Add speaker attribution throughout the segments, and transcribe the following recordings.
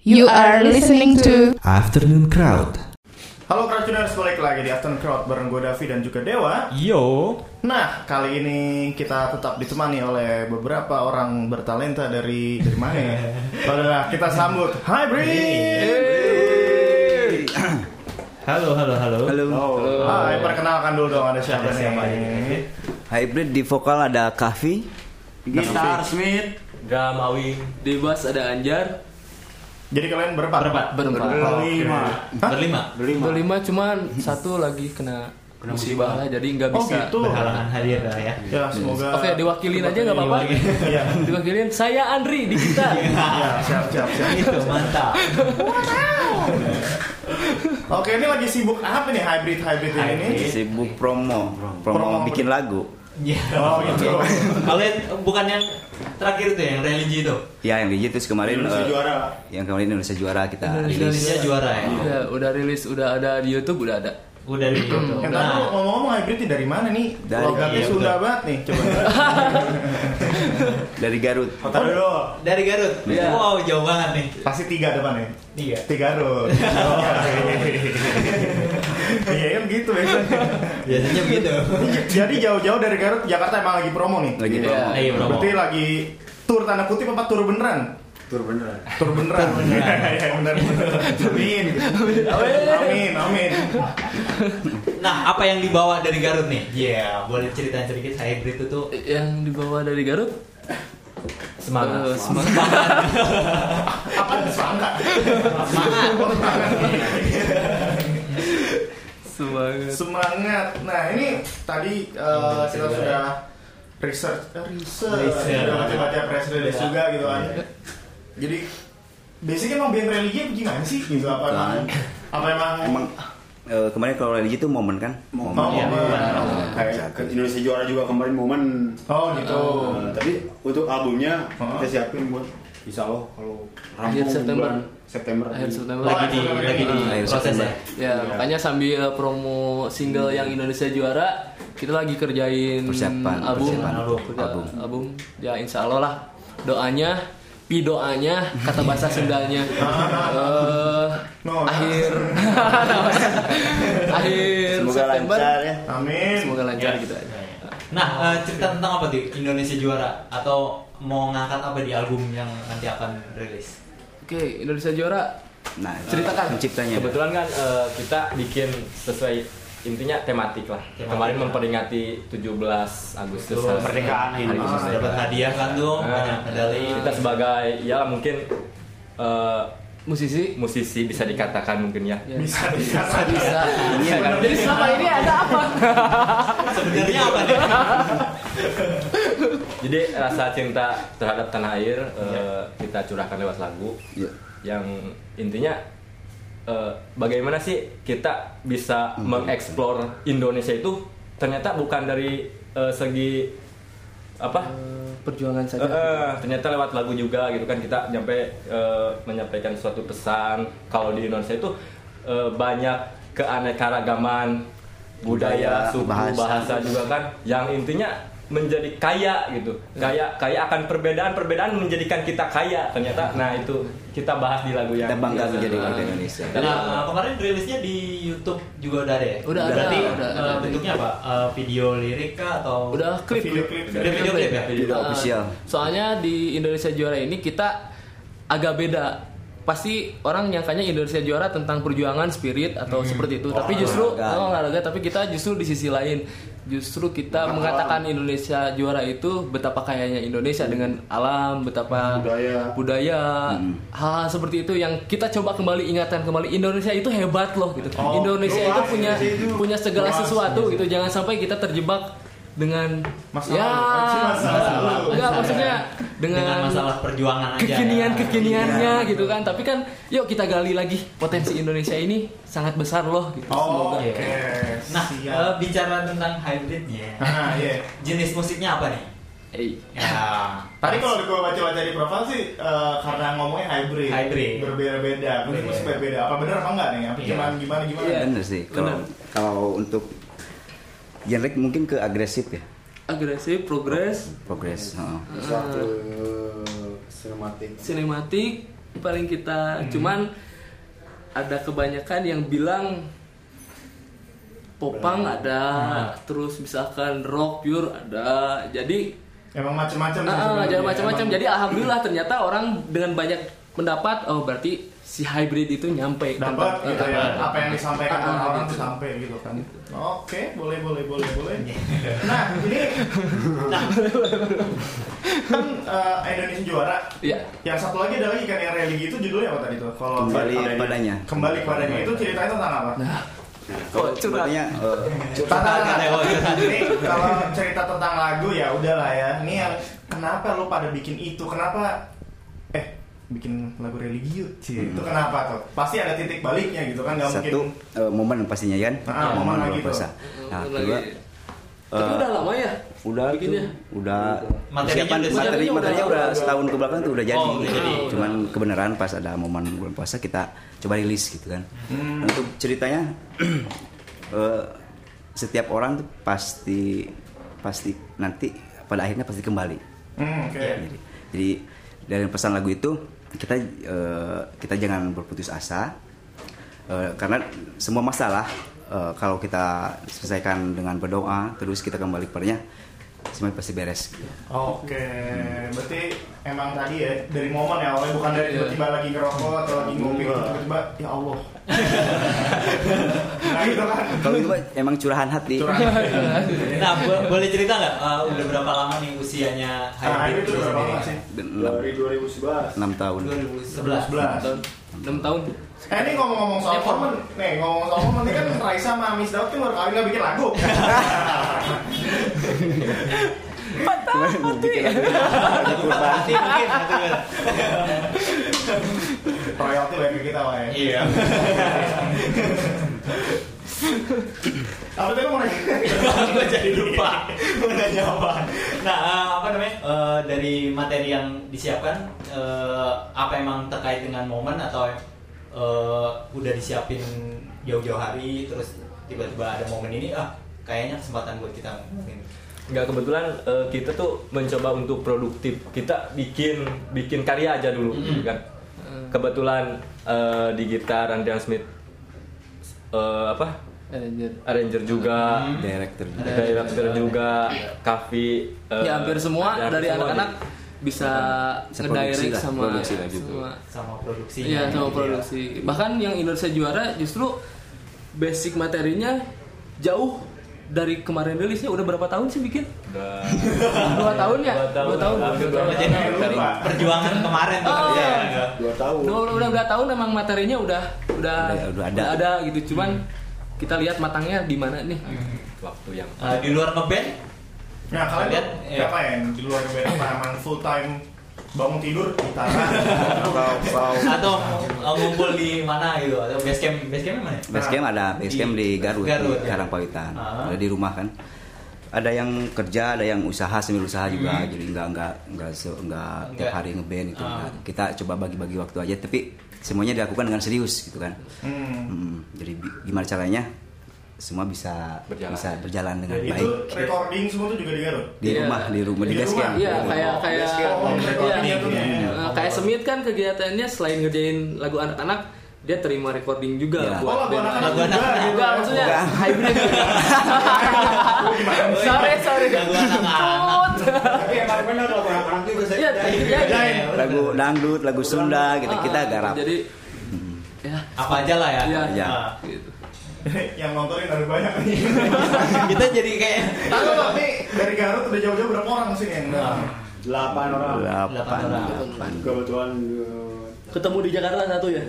Speaker 1: You are listening to
Speaker 2: Afternoon Crowd.
Speaker 3: Halo Crowdtuners, balik lagi di Afternoon Crowd bareng gue Davi dan juga Dewa
Speaker 4: Yo,
Speaker 3: Nah, kali ini kita tetap ditemani oleh beberapa orang bertalenta dari dari mana ya? Adalah kita sambut Hybrid!
Speaker 4: halo halo halo. Halo.
Speaker 3: Hai, perkenalkan dulu dong ada siapa nih yang ini
Speaker 5: Hybrid di vokal ada Kahfi
Speaker 6: Gitar Smith
Speaker 4: Drum Awing
Speaker 6: Di bass ada Anjar
Speaker 3: Jadi kalian berempat?
Speaker 4: Berempat.
Speaker 6: Berempat
Speaker 3: Berlima Hah?
Speaker 4: berlima
Speaker 6: Berlima cuman satu lagi kena musibah lah jadi nggak
Speaker 3: Oh
Speaker 6: bisa
Speaker 3: gitu?
Speaker 4: berhalangan hadir lah ya.
Speaker 3: Ya, semoga
Speaker 6: Oke diwakilin aja nggak apa-apa
Speaker 3: Iya,
Speaker 6: Diwakilin saya Andri di kita
Speaker 3: ya, siap, siap, siap
Speaker 4: Itu mantap.
Speaker 3: Oke, ini lagi sibuk apa nih Hybrid-Hybrid ini?
Speaker 4: Hybrid.
Speaker 5: sibuk promo, promo,
Speaker 3: Promo.
Speaker 5: bikin lagu.
Speaker 4: Ya.
Speaker 3: Oh gitu
Speaker 4: Kalau yang- bukan yang terakhir itu ya, yang religi itu.
Speaker 5: Ya yang gitu terus kemarin
Speaker 3: Indonesia
Speaker 5: eh,
Speaker 3: juara
Speaker 5: yang kemarin Indonesia juara kita rilis.
Speaker 4: Indonesia juara ya.
Speaker 6: Udah Iya, udah rilis udah ada di YouTube udah ada
Speaker 4: Udah di YouTube.
Speaker 3: Yang tadi
Speaker 4: Nah,
Speaker 3: ngomong-ngomong Hybrid ini dari mana nih?
Speaker 5: Dari-
Speaker 3: Logatnya
Speaker 4: iya,
Speaker 3: Sunda
Speaker 4: betul.
Speaker 3: banget nih, coba
Speaker 5: dari Garut.
Speaker 3: Kota dulu
Speaker 4: dari Garut.
Speaker 6: Iya.
Speaker 4: Wow, jauh banget nih.
Speaker 3: Pasti tiga depannya
Speaker 4: Tiga.
Speaker 3: Tiga Garut Iya kan gitu biasanya
Speaker 4: Biasanya begitu.
Speaker 3: Jadi jauh-jauh dari Garut, Jakarta emang lagi promo nih
Speaker 5: Lagi
Speaker 6: Iya.
Speaker 5: promo.
Speaker 4: Ayo promo.
Speaker 3: Berarti lagi tur tanda kutip apa tur beneran? Tur beneran Tur beneran Iya bener bener Amin Amin Amin
Speaker 4: Nah, apa yang dibawa dari Garut nih? Ya, boleh ceritain sedikit hybrid itu tuh
Speaker 6: Yang dibawa dari Garut eh,
Speaker 4: semangat.
Speaker 6: semangat
Speaker 3: Apa disangka?
Speaker 6: Semangat
Speaker 3: Semangat Nah ini tadi eh, kita sudah research eh, research
Speaker 4: Research.
Speaker 3: sudah baca-baca press release
Speaker 4: Iya.
Speaker 3: juga gitu kan jadi basicnya emang band religi apa gimana sih gitu apa
Speaker 5: Bukan.
Speaker 3: emang apa emang
Speaker 5: Emang eh, kemarin kalau religi itu momen kan? Momen.
Speaker 3: Oh,
Speaker 4: Iya,
Speaker 3: momen.
Speaker 4: iya.
Speaker 3: Oh, kayak-
Speaker 7: Kayak ke- Indonesia juara juga kemarin momen
Speaker 3: oh gitu
Speaker 7: Nah, tapi untuk albumnya
Speaker 3: Hah?
Speaker 7: kita siapin buat insya Allah kalau rampung
Speaker 6: Akhir September.
Speaker 7: bulan September
Speaker 6: Akhir September
Speaker 4: Lagi di
Speaker 3: Oh,
Speaker 4: lagi di
Speaker 5: ayo,
Speaker 4: proses
Speaker 5: September.
Speaker 4: ya.
Speaker 6: Ya makanya sambil promo single yang Indonesia juara Kita lagi kerjain
Speaker 5: Persiapan,
Speaker 6: album
Speaker 5: persiapan.
Speaker 6: Kita-
Speaker 5: Album.
Speaker 6: album Ya insya Allah lah doanya pidoanya kata bahasa Sundanya eh
Speaker 3: No. nah.
Speaker 6: akhir akhir
Speaker 5: Semoga
Speaker 6: September
Speaker 5: lancar ya.
Speaker 3: amin Iya.
Speaker 6: semoga lancar
Speaker 4: Ya.
Speaker 6: gitu aja
Speaker 4: Nah, eh, cerita tentang apa tuh Indonesia juara atau mau ngangkat apa di album yang nanti akan rilis?
Speaker 6: oke Indonesia juara
Speaker 5: Nah,
Speaker 6: Ceritakan.
Speaker 5: penciptanya.
Speaker 4: Iya.
Speaker 8: Kebetulan kan eh, kita bikin sesuai intinya tematik lah.
Speaker 4: Tematik. ya.
Speaker 8: Kemarin memperingati 17 Agustus
Speaker 4: Betul. Kemerdekaan
Speaker 8: ini.
Speaker 4: dapat hadiah kan tuh
Speaker 6: Ah.
Speaker 4: banyak medali
Speaker 8: kita sebagai ya mungkin eh,
Speaker 6: musisi
Speaker 8: musisi bisa dikatakan mungkin ya.
Speaker 4: Iya.
Speaker 6: Ya.
Speaker 3: bisa bisa
Speaker 6: bisa
Speaker 5: Iya, kan?
Speaker 6: jadi selama ini ya, ada apa
Speaker 4: sebenarnya apa nih
Speaker 8: Jadi rasa cinta terhadap tanah air eh,
Speaker 4: Iya.
Speaker 8: kita curahkan lewat lagu
Speaker 5: Iya.
Speaker 8: yang intinya eh, bagaimana sih kita bisa
Speaker 4: Hmm.
Speaker 8: mengeksplor Indonesia itu ternyata bukan dari eh, segi apa
Speaker 6: perjuangan saja
Speaker 8: Eh, eh, ternyata lewat lagu juga gitu kan kita nyampe eh, menyampaikan suatu pesan kalau di Indonesia itu eh, banyak keanekaragaman budaya,
Speaker 5: Budaya,
Speaker 8: suku, bahasa.
Speaker 5: bahasa.
Speaker 8: juga kan yang intinya menjadi kaya gitu. Kaya kaya akan perbedaan-perbedaan menjadikan kita kaya ternyata. Nah, itu kita bahas di lagu yang
Speaker 5: Kita bangga menjadi
Speaker 8: Eh,
Speaker 5: warga Indonesia.
Speaker 4: Nah, kemarin rilisnya di YouTube juga udah ada ya?
Speaker 6: Udah ada,
Speaker 4: Berarti,
Speaker 6: udah
Speaker 4: eh,
Speaker 6: ada.
Speaker 4: bentuknya apa? Eh, video lirik kah atau
Speaker 6: udah klip
Speaker 3: video klip
Speaker 4: Udah video klip ya?
Speaker 5: Video
Speaker 6: Uh,
Speaker 5: official.
Speaker 6: Soalnya di Indonesia Juara ini kita agak beda. Pasti orang nyangkanya Indonesia Juara tentang perjuangan spirit atau seperti itu, tapi justru
Speaker 5: olahraga.
Speaker 6: oh, olahraga tapi kita justru di sisi lain. Justru kita mengatakan Indonesia juara itu betapa kayanya Indonesia dengan alam, betapa
Speaker 7: Budaya.
Speaker 6: budaya, hal-hal seperti itu yang kita coba kembali ingatkan kembali Indonesia itu hebat loh gitu.
Speaker 3: Oh,
Speaker 6: Indonesia
Speaker 3: luas
Speaker 6: itu punya
Speaker 3: Indonesia itu.
Speaker 6: punya segala
Speaker 3: Luas.
Speaker 6: sesuatu gitu. Jangan sampai kita terjebak dengan
Speaker 3: Masa
Speaker 6: ya
Speaker 3: lalu, masih masa lalu.
Speaker 6: enggak maksudnya dengan,
Speaker 4: dengan masalah perjuangan aja? Iya,
Speaker 6: kekinian kekiniannya gitu kan tapi kan yuk kita gali lagi potensi Indonesia ini sangat besar loh gitu
Speaker 3: oh,
Speaker 6: semoga
Speaker 3: oke
Speaker 4: Nah,
Speaker 3: Siap.
Speaker 4: eh, bicara tentang hybridnya,
Speaker 3: Ah, iya. Ah.
Speaker 4: jenis musiknya apa nih?
Speaker 6: Eh,
Speaker 4: Ya,
Speaker 3: Tadi kalau gue baca-baca di profil sih eh, karena ngomongnya hybrid,
Speaker 4: Hybrid.
Speaker 3: berbeda-beda, mungkin
Speaker 4: Berbeda.
Speaker 3: berbeda. Apa benar apa enggak nih? Apa
Speaker 4: Iya.
Speaker 3: gimana gimana gimana?
Speaker 6: Iya.
Speaker 5: Bener sih. Kalau kalau untuk genre mungkin ke agresif ya.
Speaker 6: agresif progres Ah.
Speaker 5: Progress. heeh.
Speaker 7: bisa ke sinematik
Speaker 6: sinematik paling kita cuman ada kebanyakan yang bilang popang ada terus misalkan rock pure ada jadi
Speaker 3: Emang macam-macam. sih
Speaker 6: ah, ah,
Speaker 3: sebenarnya.
Speaker 6: jadi macam-macam
Speaker 3: ya, Emang
Speaker 6: jadi alhamdulillah ternyata orang dengan banyak pendapat oh berarti si hybrid itu nyampe
Speaker 3: dapat
Speaker 6: Tempat-
Speaker 3: gitu
Speaker 6: eh,
Speaker 3: ya
Speaker 6: eh, eh.
Speaker 3: apa yang disampaikan
Speaker 6: Ah, ah,
Speaker 3: orang-orang
Speaker 6: gitu.
Speaker 3: tuh sampai gitu kan. Oke, boleh boleh boleh boleh. Nah, ini nah, kan eh, Indonesia juara.
Speaker 6: Iya.
Speaker 3: Yang satu lagi ada lagi kan yang religi itu judulnya apa tadi tuh? Kalau
Speaker 5: Kembali kepadanya.
Speaker 3: Kembali kepadanya itu ceritanya tentang apa?
Speaker 6: Kok curhat?
Speaker 5: Sepertinya eh,
Speaker 3: Tentang
Speaker 4: Tanya, oh, curhat.
Speaker 3: Ini kalau cerita tentang lagu ya udahlah ya. Ini yang kenapa lu pada bikin itu? Kenapa eh bikin lagu religi yuk, Cie. Itu kenapa tuh? Pasti ada titik baliknya gitu kan nggak mungkin.
Speaker 5: satu eh, momen pastinya kan,
Speaker 3: Ah, momen
Speaker 5: momen bulan
Speaker 3: lagi tuh.
Speaker 5: puasa. Nah,
Speaker 6: Lagi-
Speaker 5: kedua
Speaker 6: tapi
Speaker 5: eh,
Speaker 6: udah lama ya
Speaker 5: udah
Speaker 6: bikinnya?
Speaker 5: tuh, udah
Speaker 4: Materinya
Speaker 5: persiapan-
Speaker 4: udah siap.
Speaker 5: materi
Speaker 6: Materinya
Speaker 5: materinya
Speaker 6: udah-
Speaker 5: udah setahun ke belakang tuh udah jadi.
Speaker 4: Oh, udah jadi.
Speaker 5: Cuman kebenaran pas ada momen bulan puasa kita coba rilis gitu kan. Untuk ceritanya eh, setiap orang tuh pasti pasti nanti pada akhirnya pasti kembali.
Speaker 3: Hmm, oke.
Speaker 5: Jadi, jadi dari pesan lagu itu kita eh, kita jangan berputus asa Eh, karena semua masalah eh, kalau kita selesaikan dengan berdoa terus kita kembali kepadanya semuanya pasti beres.
Speaker 3: Oke, berarti emang tadi ya dari momen ya awalnya bukan dari tiba-tiba lagi ngerokok atau lagi ngopi
Speaker 7: Enggak.
Speaker 3: tiba-tiba ya Allah. nah gitu kan.
Speaker 5: Kalau itu Pak, emang curahan hati.
Speaker 3: Curang.
Speaker 4: Nah, bo- boleh cerita nggak eh, udah berapa lama nih usianya
Speaker 3: Nah,
Speaker 4: hybrid
Speaker 3: itu
Speaker 4: itu
Speaker 3: berapa
Speaker 4: sendiri?
Speaker 3: lama sih?
Speaker 5: Enam,
Speaker 7: dari 2011
Speaker 5: enam tahun.
Speaker 3: 11.
Speaker 4: 2011.
Speaker 6: 6 tahun
Speaker 3: Eh ini ngomong-ngomong soal
Speaker 6: Eh,
Speaker 3: momen, nih ngomong soal momen ini kan Raisa sama Miss Daud kan baru kali nggak bikin lagu.
Speaker 4: Ada kurban. Nanti mungkin nanti mungkin.
Speaker 3: Royalty banyak ke kita lah ya.
Speaker 4: Iya.
Speaker 3: Apa tadi mau nanya?
Speaker 4: Gue jadi lupa. Gue nanya apa. Nah, eh, apa namanya? Eh, dari materi yang disiapkan eh, apa emang terkait dengan momen atau eh, udah disiapin jauh-jauh hari terus tiba-tiba ada momen ini ah kayaknya kesempatan buat kita ngomongin.
Speaker 8: nggak kebetulan eh, kita tuh mencoba untuk produktif kita bikin bikin karya aja dulu
Speaker 4: Mm-mm.
Speaker 8: kan kebetulan eh, di gitar Andrian Smith eh, apa
Speaker 6: Anjir.
Speaker 8: arranger juga
Speaker 5: Director.
Speaker 8: director juga Kavi eh,
Speaker 6: ya hampir semua
Speaker 8: hampir
Speaker 6: dari
Speaker 8: semua
Speaker 6: anak-anak
Speaker 8: di-
Speaker 6: bisa
Speaker 5: Bisa produksi
Speaker 6: ngedirect
Speaker 5: lah,
Speaker 6: sama
Speaker 5: produksi lah gitu.
Speaker 6: sama-
Speaker 4: sama produksinya.
Speaker 6: Iya sama
Speaker 4: gitu ya.
Speaker 6: produksi. Bahkan yang Indonesia juara justru basic materinya jauh dari kemarin rilisnya udah berapa tahun sih bikin?
Speaker 8: udah
Speaker 6: Dua tahun ya?
Speaker 8: Dua tahun,
Speaker 6: Dua tahun.
Speaker 8: hampir
Speaker 6: Dua
Speaker 8: dua
Speaker 6: tahun.
Speaker 4: Jadi
Speaker 3: Dari-
Speaker 4: perjuangan kemarin tuh
Speaker 6: Oh.
Speaker 4: ya.
Speaker 7: dua tahun
Speaker 6: Dua, udah, udah tahun emang materinya udah udah
Speaker 5: Udah- udah ada.
Speaker 6: gitu. Cuman kita lihat matangnya di mana nih.
Speaker 8: waktu yang
Speaker 4: Eh, di luar ngeband
Speaker 3: Nah kalian
Speaker 4: Kalian,
Speaker 3: tuh
Speaker 4: iya.
Speaker 3: apa ya di luar band apa emang full time bangun tidur kita
Speaker 7: atau atau
Speaker 4: atau eh, ngumpul di mana gitu atau base camp base campnya mana? ya?
Speaker 5: Base camp ada base camp di Garut,
Speaker 4: Garut,
Speaker 5: di
Speaker 4: ya.
Speaker 5: Karangpawitan.
Speaker 4: Ah.
Speaker 5: Ada di rumah kan. Ada yang kerja, ada yang usaha sambil usaha juga. Jadi nggak nggak nggak se- nggak tiap
Speaker 4: Nggak.
Speaker 5: hari ngeband itu.
Speaker 4: Ah.
Speaker 5: Kita coba bagi-bagi waktu aja. Tapi semuanya dilakukan dengan serius gitu kan.
Speaker 3: Hmm.
Speaker 5: Mm, jadi bi- gimana caranya semua bisa
Speaker 8: Berjalan.
Speaker 5: bisa berjalan dengan
Speaker 3: itu
Speaker 5: baik
Speaker 3: recording semua tuh juga di Garut.
Speaker 5: di
Speaker 6: Iya.
Speaker 5: rumah di rumah di, ya.
Speaker 3: Di
Speaker 5: base
Speaker 3: rumah?
Speaker 5: camp.
Speaker 6: Iya
Speaker 3: Oh,
Speaker 6: kayak kayak
Speaker 3: base camp. Oh, recording
Speaker 6: iya.
Speaker 3: itu ya.
Speaker 6: Eh, kayak Semit kan kegiatannya selain ngerjain lagu anak-anak dia terima recording juga
Speaker 5: Iya.
Speaker 3: Oh
Speaker 6: buat
Speaker 3: lagu
Speaker 6: band.
Speaker 3: anak-anak
Speaker 4: Lagu
Speaker 3: juga
Speaker 4: anak-anak.
Speaker 3: gitu.
Speaker 6: Enggak maksudnya hybrid. gitu. sorry sorry.
Speaker 4: Lagu anak-anak.
Speaker 7: tapi yang paling benar lagu anak-anak juga
Speaker 6: Iya, iya, iya.
Speaker 5: lagu dangdut lagu Sunda gitu kita Hmm.
Speaker 6: Ah,
Speaker 5: garap
Speaker 6: Jadi ya
Speaker 4: Apa aja lah ya.
Speaker 6: Iya.
Speaker 5: Iya.
Speaker 4: Nah,
Speaker 6: gitu.
Speaker 3: yang nontonin ada banyak nih.
Speaker 4: kita jadi kayak
Speaker 3: Tapi tapi dari Garut udah jauh-jauh berapa orang sih yang datang?
Speaker 7: delapan orang
Speaker 5: delapan
Speaker 4: orang.
Speaker 5: delapan.
Speaker 7: kebetulan eh,
Speaker 6: Ketemu di Jakarta satu ya.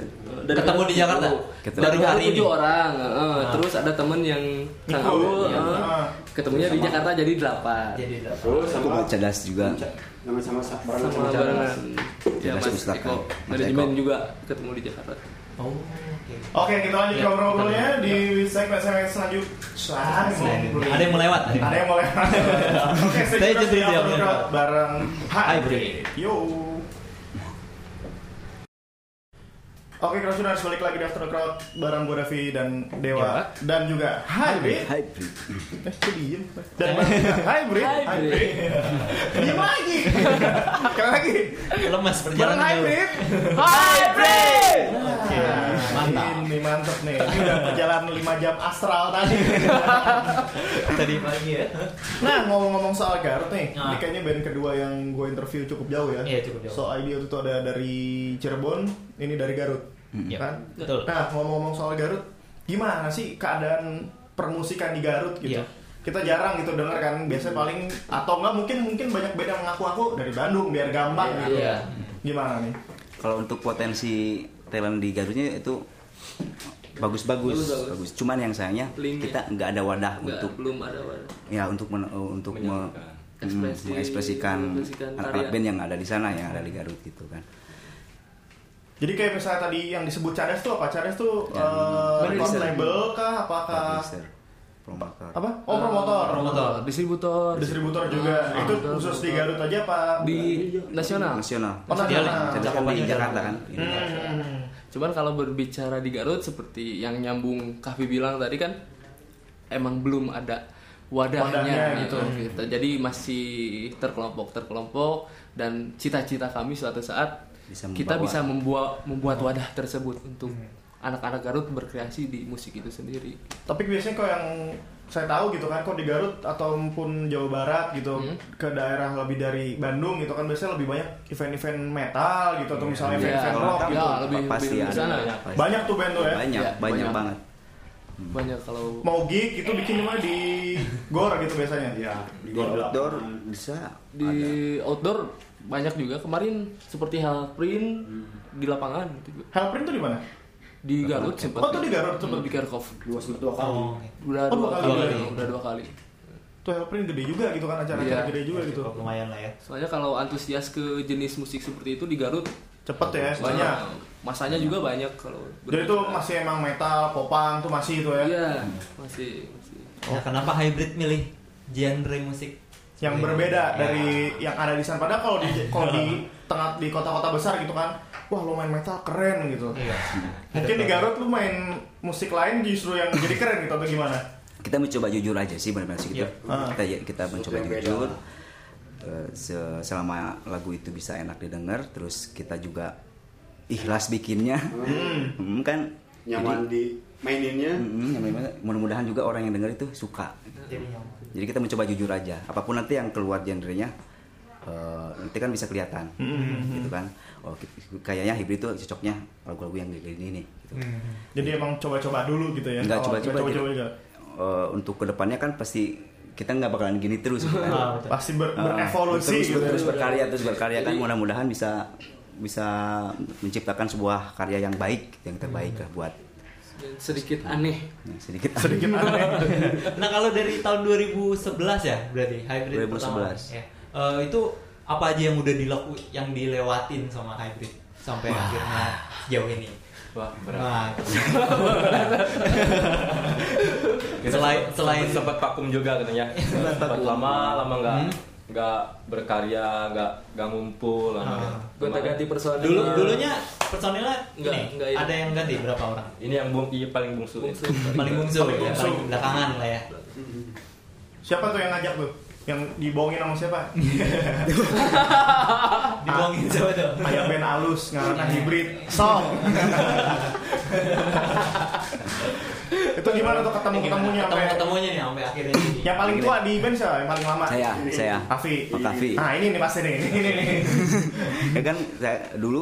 Speaker 4: ketemu di Jakarta.
Speaker 5: Ketemu.
Speaker 4: Baru hari ini.
Speaker 6: tujuh orang, eh, terus ada temen yang Kang
Speaker 3: Ikut,
Speaker 6: Aul,
Speaker 3: iya.
Speaker 6: eh,
Speaker 3: Ah.
Speaker 6: ketemunya di Jakarta jadi delapan.
Speaker 4: Jadi delapan.
Speaker 7: terus
Speaker 5: aku
Speaker 7: sama
Speaker 5: cerdas juga
Speaker 7: sama sama barengan
Speaker 6: Sama
Speaker 7: sama
Speaker 6: barengan. Ya,
Speaker 5: Mas
Speaker 6: Mas
Speaker 5: Pustaka.
Speaker 6: Eko,
Speaker 5: Mas
Speaker 6: manajemen
Speaker 5: Eko.
Speaker 6: juga ketemu di Jakarta.
Speaker 4: Oh. oke.
Speaker 3: Oke, kita lanjut
Speaker 6: Ya,
Speaker 3: ngobrol-ngobrolnya
Speaker 6: kita-
Speaker 3: di segmen segmen selanjut. Selanjutnya.
Speaker 4: Ada yang mau lewat. ada yang
Speaker 3: Ada yang mau lewat. Oke,
Speaker 4: Saya
Speaker 3: stay tune
Speaker 4: jadi
Speaker 3: di
Speaker 4: dia
Speaker 3: After
Speaker 4: yang
Speaker 3: Crowd bareng
Speaker 4: Hybrid.
Speaker 3: Yo. Oke, Cross Tune harus balik lagi di After Crowd bareng gue Raffi dan Dewa dan juga Hybrid.
Speaker 5: Hybrid.
Speaker 3: Eh, kok diem? Dan Hybrid. Hybrid. Diem lagi. Sekali lagi.
Speaker 4: Lemes
Speaker 3: Bareng
Speaker 4: perjalanan jauh.
Speaker 3: Hybrid.
Speaker 6: Hybrid.
Speaker 4: Oke,
Speaker 3: Mantap.
Speaker 4: mantap.
Speaker 3: Ini mantep nih. Ini udah perjalanan 5 jam astral tadi.
Speaker 4: Tadi pagi ya.
Speaker 3: Nah, ngomong-ngomong soal Garut nih, ini
Speaker 4: Nah.
Speaker 3: kayaknya band kedua yang gue interview cukup jauh ya.
Speaker 4: Iya, cukup jauh.
Speaker 3: So idea itu tuh ada dari Cirebon, ini dari Garut,
Speaker 4: Iya,
Speaker 3: kan?
Speaker 4: betul.
Speaker 3: Nah, ngomong-ngomong soal Garut, gimana sih keadaan permusikan di Garut gitu?
Speaker 4: Iya.
Speaker 3: Kita jarang gitu denger kan, biasanya paling atau enggak mungkin mungkin banyak band yang ngaku-ngaku dari Bandung biar gampang
Speaker 4: Iya,
Speaker 3: gitu.
Speaker 6: iya.
Speaker 3: Gimana nih?
Speaker 5: Kalau untuk potensi talent di Garutnya itu bagus-bagus,
Speaker 6: Bagus-bagus.
Speaker 5: bagus. Cuman yang sayangnya
Speaker 6: Link ya.
Speaker 5: kita nggak ada wadah
Speaker 6: Nggak,
Speaker 5: untuk
Speaker 6: belum ada wadah.
Speaker 5: ya untuk men- untuk me-
Speaker 8: Menyampaikan.
Speaker 5: mm,
Speaker 6: Ekspresi-
Speaker 5: mengekspresikan
Speaker 6: mengekspresikan
Speaker 5: anak-anak
Speaker 6: karya.
Speaker 5: band yang ada di sana yang ada di Garut gitu kan.
Speaker 3: Eh, Jadi kayak misalnya tadi yang disebut Cades tuh apa? Cades tuh
Speaker 5: Ya,
Speaker 3: eh,
Speaker 5: producer.
Speaker 3: record label kah? Apakah
Speaker 5: Publisher, promotor.
Speaker 3: apa? Oh, promotor.
Speaker 4: Promotor.
Speaker 6: distributor,
Speaker 3: Distributor juga.
Speaker 6: Ah,
Speaker 3: itu
Speaker 6: betul,
Speaker 3: khusus
Speaker 6: betul.
Speaker 3: di Garut aja apa?
Speaker 6: di nasional.
Speaker 5: nasional.
Speaker 3: Oh, nasional.
Speaker 5: Jadi kan di Jakarta kan. Ini.
Speaker 3: Hmm.
Speaker 6: Cuman kalau berbicara di Garut seperti yang nyambung Kavi bilang tadi kan emang belum ada
Speaker 3: Wadahnya,
Speaker 6: wadahnya gitu,
Speaker 3: hmm.
Speaker 6: gitu. Jadi masih terkelompok terkelompok dan cita-cita kami suatu saat
Speaker 5: Bisa
Speaker 6: kita
Speaker 5: membawa.
Speaker 6: bisa membuat membuat wadah tersebut untuk anak-anak Garut berkreasi di musik itu sendiri.
Speaker 3: Tapi biasanya kok yang saya tahu gitu kan, kok di Garut ataupun Jawa Barat gitu
Speaker 6: Hmm.
Speaker 3: ke daerah lebih dari Bandung gitu kan biasanya lebih banyak event-event metal gitu atau misalnya
Speaker 6: Iya,
Speaker 3: event-event
Speaker 5: Kalau
Speaker 3: rock
Speaker 5: metal
Speaker 3: gitu.
Speaker 6: ya, lebih
Speaker 5: pasti
Speaker 6: lebih ke
Speaker 5: ada.
Speaker 6: sana.
Speaker 5: Pasti.
Speaker 3: Banyak tuh band tuh ya.
Speaker 5: Banyak,
Speaker 6: Ya,
Speaker 5: banyak
Speaker 6: banyak.
Speaker 5: banget.
Speaker 6: Banyak kalau
Speaker 3: Mau gig itu bikin di mana di Gor gitu biasanya. Iya.
Speaker 5: Door to door bisa
Speaker 6: di outdoor banyak juga kemarin seperti hal print
Speaker 3: Hmm.
Speaker 6: di lapangan gitu juga.
Speaker 3: Helprin tuh di mana?
Speaker 6: di Garut sempat Hmm,
Speaker 3: Oh, tuh di Garut sempet.
Speaker 6: di Kerkhof
Speaker 7: dua sebut dua kali
Speaker 4: Oh,
Speaker 6: udah
Speaker 3: Oh,
Speaker 6: dua
Speaker 3: dua
Speaker 6: kali,
Speaker 3: kali.
Speaker 6: udah dua kali
Speaker 3: Tuh Helprin gede juga gitu kan acara-acara
Speaker 6: Iya.
Speaker 3: gede juga gitu.
Speaker 4: cukup lumayan lah ya.
Speaker 6: soalnya kalau antusias ke jenis musik seperti itu di Garut
Speaker 3: Cepet ya banyak.
Speaker 6: eh, masanya juga banyak kalau
Speaker 3: Jadi itu masih emang metal, popang tuh masih itu ya.
Speaker 6: iya masih, masih.
Speaker 4: Nah, kenapa hybrid milih genre musik
Speaker 3: yang
Speaker 4: Seperti-
Speaker 3: berbeda
Speaker 5: Iya.
Speaker 4: Ya.
Speaker 3: dari yang ada di sana. Padahal kalau di kalau di tengah di kota-kota besar gitu kan, wah lu main metal keren gitu.
Speaker 4: Iya.
Speaker 3: Mungkin di Garut lu main musik lain justru yang jadi keren gitu atau gimana?
Speaker 5: kita mencoba jujur aja sih benar-benar sih kita,
Speaker 4: Iya.
Speaker 3: Ah.
Speaker 5: kita ya, kita mencoba
Speaker 7: yang beda.
Speaker 5: jujur Eh, se- selama lagu itu bisa enak didengar terus kita juga ikhlas bikinnya Hmm, kan
Speaker 7: nyaman di maininnya
Speaker 5: Mm-mm, yang memang- mudah-mudahan juga orang yang denger itu suka
Speaker 4: Jadi nyaman.
Speaker 5: jadi kita mencoba jujur aja apapun nanti yang keluar genrenya eh, nanti kan bisa kelihatan
Speaker 4: Hmm.
Speaker 5: gitu kan oh ki- kayaknya hybrid itu cocoknya lagu-lagu yang kayak gini nih gitu.
Speaker 4: Hmm.
Speaker 3: Jadi emang coba-coba dulu gitu ya.
Speaker 5: Nggak
Speaker 3: Oh,
Speaker 5: coba-coba,
Speaker 3: coba-coba
Speaker 5: jadi-
Speaker 3: juga.
Speaker 5: Eh, untuk kedepannya kan pasti kita nggak bakalan gini terus gitu kan.
Speaker 4: Ah, betul.
Speaker 3: Pasti ber-
Speaker 5: Ah,
Speaker 3: berevolusi
Speaker 5: terus,
Speaker 3: gitu.
Speaker 5: terus
Speaker 3: ya.
Speaker 5: berkarya terus berkarya kan
Speaker 6: Jadi-
Speaker 5: mudah-mudahan bisa bisa menciptakan sebuah karya yang baik yang terbaik lah buat
Speaker 6: Dan sedikit aneh
Speaker 5: ya, sedikit
Speaker 3: Sedikit aneh.
Speaker 4: Nah kalau dari tahun 2011 ya berarti hybrid pertama.
Speaker 5: 2011.
Speaker 4: Ya. Eh, itu apa aja yang udah dilaku yang dilewatin sama hybrid sampai akhirnya sejauh ini?
Speaker 8: Wah, berat.
Speaker 4: Nah, Selain- selain-
Speaker 8: sempat vakum juga katanya. sempat lama lama nggak nggak berkarya, nggak nggak ngumpul. lama.
Speaker 4: Ah.
Speaker 6: gonta ganti personil
Speaker 4: dulu dulunya personilnya
Speaker 6: Nggak,
Speaker 4: ini,
Speaker 6: nggak ini.
Speaker 4: ada yang ganti berapa orang?
Speaker 8: Ini yang bung, iya, paling bungsu. ya.
Speaker 6: Bungsu.
Speaker 4: Paling bungsu,
Speaker 3: Paling
Speaker 4: ya,
Speaker 3: bungsu.
Speaker 4: paling belakangan lah ya.
Speaker 3: Siapa tuh yang ngajak tuh? Yang dibohongin sama siapa?
Speaker 4: Dibuangin siapa tuh?
Speaker 3: Ada band alus,
Speaker 5: Iya.
Speaker 3: ngarana hybrid. Song. itu gimana tuh ketemu-ketemunya
Speaker 4: ketemu
Speaker 3: sampai
Speaker 4: ketemunya nih sampai akhirnya ini.
Speaker 3: ya? yang paling tua di band siapa? Yang paling lama?
Speaker 5: saya saya
Speaker 3: Kavi.
Speaker 5: Oh, Kavi.
Speaker 3: Nah ini nih pasti nih, ini nih. nih.
Speaker 5: ya kan saya dulu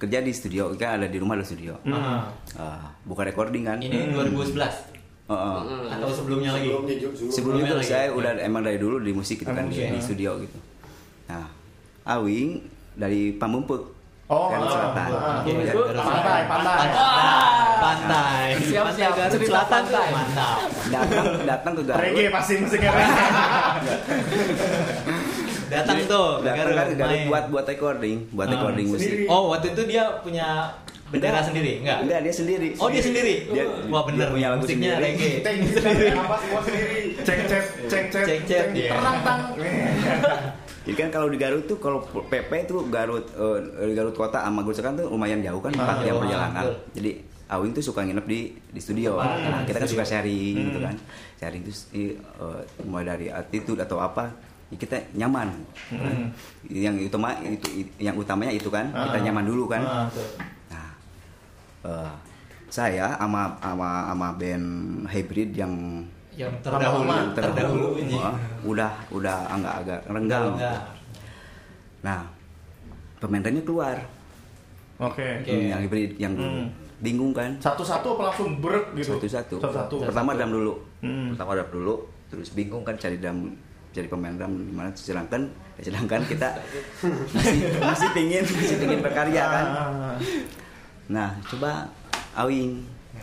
Speaker 5: kerja di studio kan ada di rumah ada studio
Speaker 3: Hmm.
Speaker 4: Ah,
Speaker 5: Ah, bukan recording kan
Speaker 4: ini Hmm. 2011
Speaker 5: Oh, oh.
Speaker 4: atau sebelumnya lagi.
Speaker 7: sebelumnya juga
Speaker 5: sebelum
Speaker 7: sebelum
Speaker 5: itu
Speaker 4: Sebelumnya lagi. ya.
Speaker 5: saya udah emang dari dulu di musik gitu kan
Speaker 3: Emang
Speaker 5: di,
Speaker 3: musik,
Speaker 5: di
Speaker 3: ya.
Speaker 5: studio gitu nah Awing dari Pamumpuk
Speaker 3: Oh,
Speaker 5: kan
Speaker 3: ah,
Speaker 5: selatan
Speaker 3: ah.
Speaker 5: Jadi-
Speaker 6: Pamumpuk,
Speaker 3: Pantai, pantai.
Speaker 4: Pantai.
Speaker 6: Siap, siap.
Speaker 4: Pantai
Speaker 6: Cerita
Speaker 4: selatan tuh
Speaker 6: pantai.
Speaker 4: mantap.
Speaker 5: datang datang ke Garut
Speaker 3: Reggae pasti musiknya reggae.
Speaker 4: Datang tuh ke
Speaker 5: datang
Speaker 4: Garut,
Speaker 5: kan ke Garut
Speaker 4: main.
Speaker 5: buat buat recording buat
Speaker 4: Ah,
Speaker 5: recording musik
Speaker 7: sendiri.
Speaker 4: Oh, waktu itu dia punya bendera
Speaker 5: Enggak.
Speaker 4: sendiri, enggak?
Speaker 5: enggak dia sendiri
Speaker 4: Oh, dia sendiri.
Speaker 5: Dia-
Speaker 4: Wah, bener.
Speaker 5: dia punya lagu
Speaker 4: Musiknya
Speaker 5: sendiri.
Speaker 4: reggae.
Speaker 3: Ceng sendiri apa semua sendiri. Ceng cet, ceng cet,
Speaker 4: Ceng cet, iya.
Speaker 3: terang tang.
Speaker 5: Jadi kan kalau di Garut tuh kalau PP tuh Garut eh, dari Garut kota sama Gurusekan tuh lumayan jauh kan 4
Speaker 4: Ah,
Speaker 5: jam
Speaker 3: iya.
Speaker 4: jauh,
Speaker 5: perjalanan.
Speaker 4: betul.
Speaker 5: Jadi Awing tuh suka nginep di di studio.
Speaker 3: Ah,
Speaker 4: Tempat,
Speaker 3: iya.
Speaker 5: Nah,
Speaker 4: di
Speaker 5: kita kan
Speaker 4: studio.
Speaker 5: suka sharing gitu
Speaker 3: Hmm.
Speaker 5: kan. Sharing tuh eh, eh, mulai dari attitude atau apa ya kita nyaman.
Speaker 3: Hmm.
Speaker 5: Yang utama itu yang utamanya itu kan kita
Speaker 3: Ah.
Speaker 5: nyaman dulu kan.
Speaker 3: Ah.
Speaker 5: Nah, eh, saya sama sama sama band hybrid yang
Speaker 4: yang terdahulu
Speaker 3: Lama-lama,
Speaker 5: yang terdahulu
Speaker 4: ini
Speaker 5: wah, udah udah agak agak renggang.
Speaker 4: Enggak.
Speaker 5: Nah, pemainnya keluar
Speaker 3: Oke.
Speaker 4: Oke.
Speaker 5: Hmm, yang hybrid yang dulu.
Speaker 3: Hmm.
Speaker 5: bingung kan
Speaker 3: Satu-satu apa langsung berat gitu?
Speaker 5: satu-satu.
Speaker 3: Satu-satu.
Speaker 5: Pertama drum dulu.
Speaker 3: Hmm.
Speaker 5: Pertama drum dulu, terus bingung kan cari drum cari pemain drum di mana sedangkan ya sedangkan kita masih, masih pingin masih pingin berkarya kan.
Speaker 3: Ah,
Speaker 5: Nah, coba Awing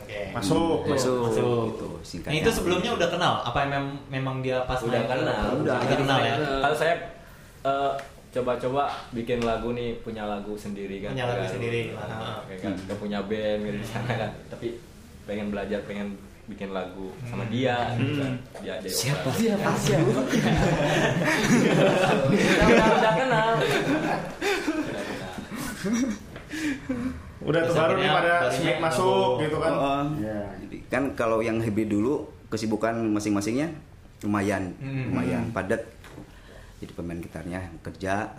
Speaker 4: Oke.
Speaker 3: Masuk.
Speaker 5: Hmm, masuk,
Speaker 4: Masuk.
Speaker 5: gitu
Speaker 4: Nah,
Speaker 5: singkatnya.
Speaker 4: itu sebelumnya udah kenal apa mem- memang dia pas
Speaker 8: udah
Speaker 4: main?
Speaker 8: kenal
Speaker 5: Udah.
Speaker 4: Nah, udah kenal ya
Speaker 8: kalau saya eh, coba-coba bikin lagu nih punya lagu sendiri kan
Speaker 4: Punya lagu
Speaker 8: Kan.
Speaker 4: sendiri.
Speaker 8: Nah,
Speaker 4: Ah.
Speaker 8: kayak kan nggak punya band gitu di sana kan tapi pengen belajar pengen bikin lagu sama dia gitu kan. dia dia
Speaker 5: Siapa?
Speaker 6: Iya,
Speaker 8: orang.
Speaker 5: Siapa?
Speaker 6: ya.
Speaker 8: udah, udah, udah kenal
Speaker 3: Udah tuh
Speaker 4: Terus
Speaker 3: baru nih
Speaker 4: akhirnya
Speaker 3: pada
Speaker 4: barunya
Speaker 3: smack
Speaker 4: nggak
Speaker 3: masuk
Speaker 4: mau.
Speaker 3: gitu kan.
Speaker 5: Heeh.
Speaker 7: Iya.
Speaker 5: Jadi kan kalau yang hybrid dulu kesibukan masing-masingnya lumayan
Speaker 4: Hmm.
Speaker 5: lumayan padat. Jadi pemain gitarnya yang kerja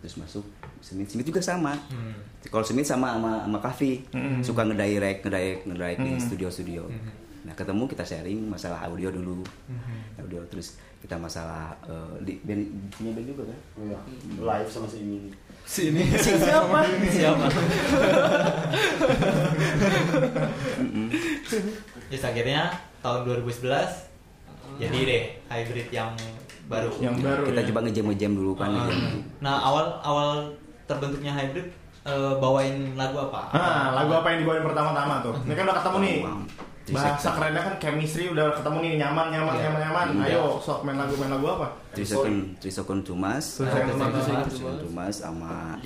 Speaker 5: terus masuk Smith Smith juga sama.
Speaker 4: Hmm.
Speaker 5: Kalau Smith sama sama sama Kavi
Speaker 3: Hmm.
Speaker 5: suka ngedirect ngedirect ngedirect di
Speaker 3: Hmm.
Speaker 5: studio-studio.
Speaker 4: Hmm.
Speaker 5: Nah ketemu kita sharing masalah audio dulu,
Speaker 4: Hmm.
Speaker 5: audio terus kita masalah eh, di band punya band juga kan?
Speaker 7: Iya.
Speaker 6: Hmm.
Speaker 7: Live sama si ini.
Speaker 4: sini siapa siapa Terus akhirnya tahun 2011 jadi deh hybrid yang baru
Speaker 3: Yang
Speaker 5: Nah,
Speaker 3: baru.
Speaker 5: kita
Speaker 3: ya.
Speaker 5: coba ngejam ngejam dulu kan.
Speaker 4: Ah.
Speaker 5: ngejam.
Speaker 4: nah awal awal terbentuknya hybrid eh, bawain lagu apa
Speaker 3: Ah, lagu apa yang dibawain pertama-tama tuh? Ini kan udah ketemu nih. Bahasa kerennya kan chemistry udah ketemu nih nyaman nyaman
Speaker 4: Iya.
Speaker 3: nyaman nyaman.
Speaker 4: Iya.
Speaker 3: Ayo sok main lagu main lagu apa?
Speaker 5: Trisakon Trisakon Tumas,
Speaker 3: Trisakon Tumas.
Speaker 5: Trisakon Tumas sama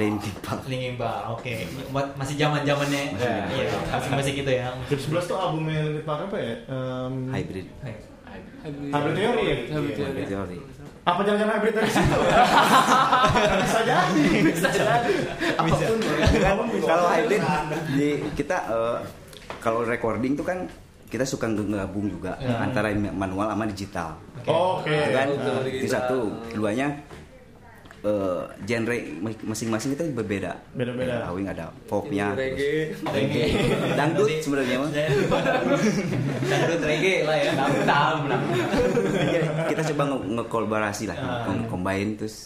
Speaker 5: Linkin Park.
Speaker 4: Linkin Park, oke. Buat- Masih zaman zamannya,
Speaker 5: Masih zaman.
Speaker 4: iya, masih masih gitu ya.
Speaker 3: 2011 tuh albumnya Linkin Park apa ya? Em,
Speaker 5: Hybrid. Gitu,
Speaker 3: Hybrid Theory ya?
Speaker 6: Hybrid Theory.
Speaker 8: Iya.
Speaker 5: Hybrid teori.
Speaker 3: Apa jangan-jangan hybrid dari situ? Bisa jadi. Bisa jadi. Apapun.
Speaker 8: Kan
Speaker 5: Kalau hybrid di kita eh, kalau recording tuh kan kita suka gabung juga
Speaker 4: Ya.
Speaker 5: antara manual sama digital.
Speaker 3: Oke.
Speaker 5: Itu kan
Speaker 8: Iya. betul, gitu.
Speaker 5: itu
Speaker 8: digital.
Speaker 5: satu, keduanya eh, genre masing-masing kita berbeda.
Speaker 3: Beda-beda.
Speaker 5: Ada Awing ada popnya, terus
Speaker 8: reggae
Speaker 5: reggae, dangdut sebenarnya mah.
Speaker 4: Dangdut reggae lah ya, tam tam tam.
Speaker 5: Iya, kita coba nge- ngekolaborasi lah,
Speaker 4: Ah.
Speaker 5: nge- combine terus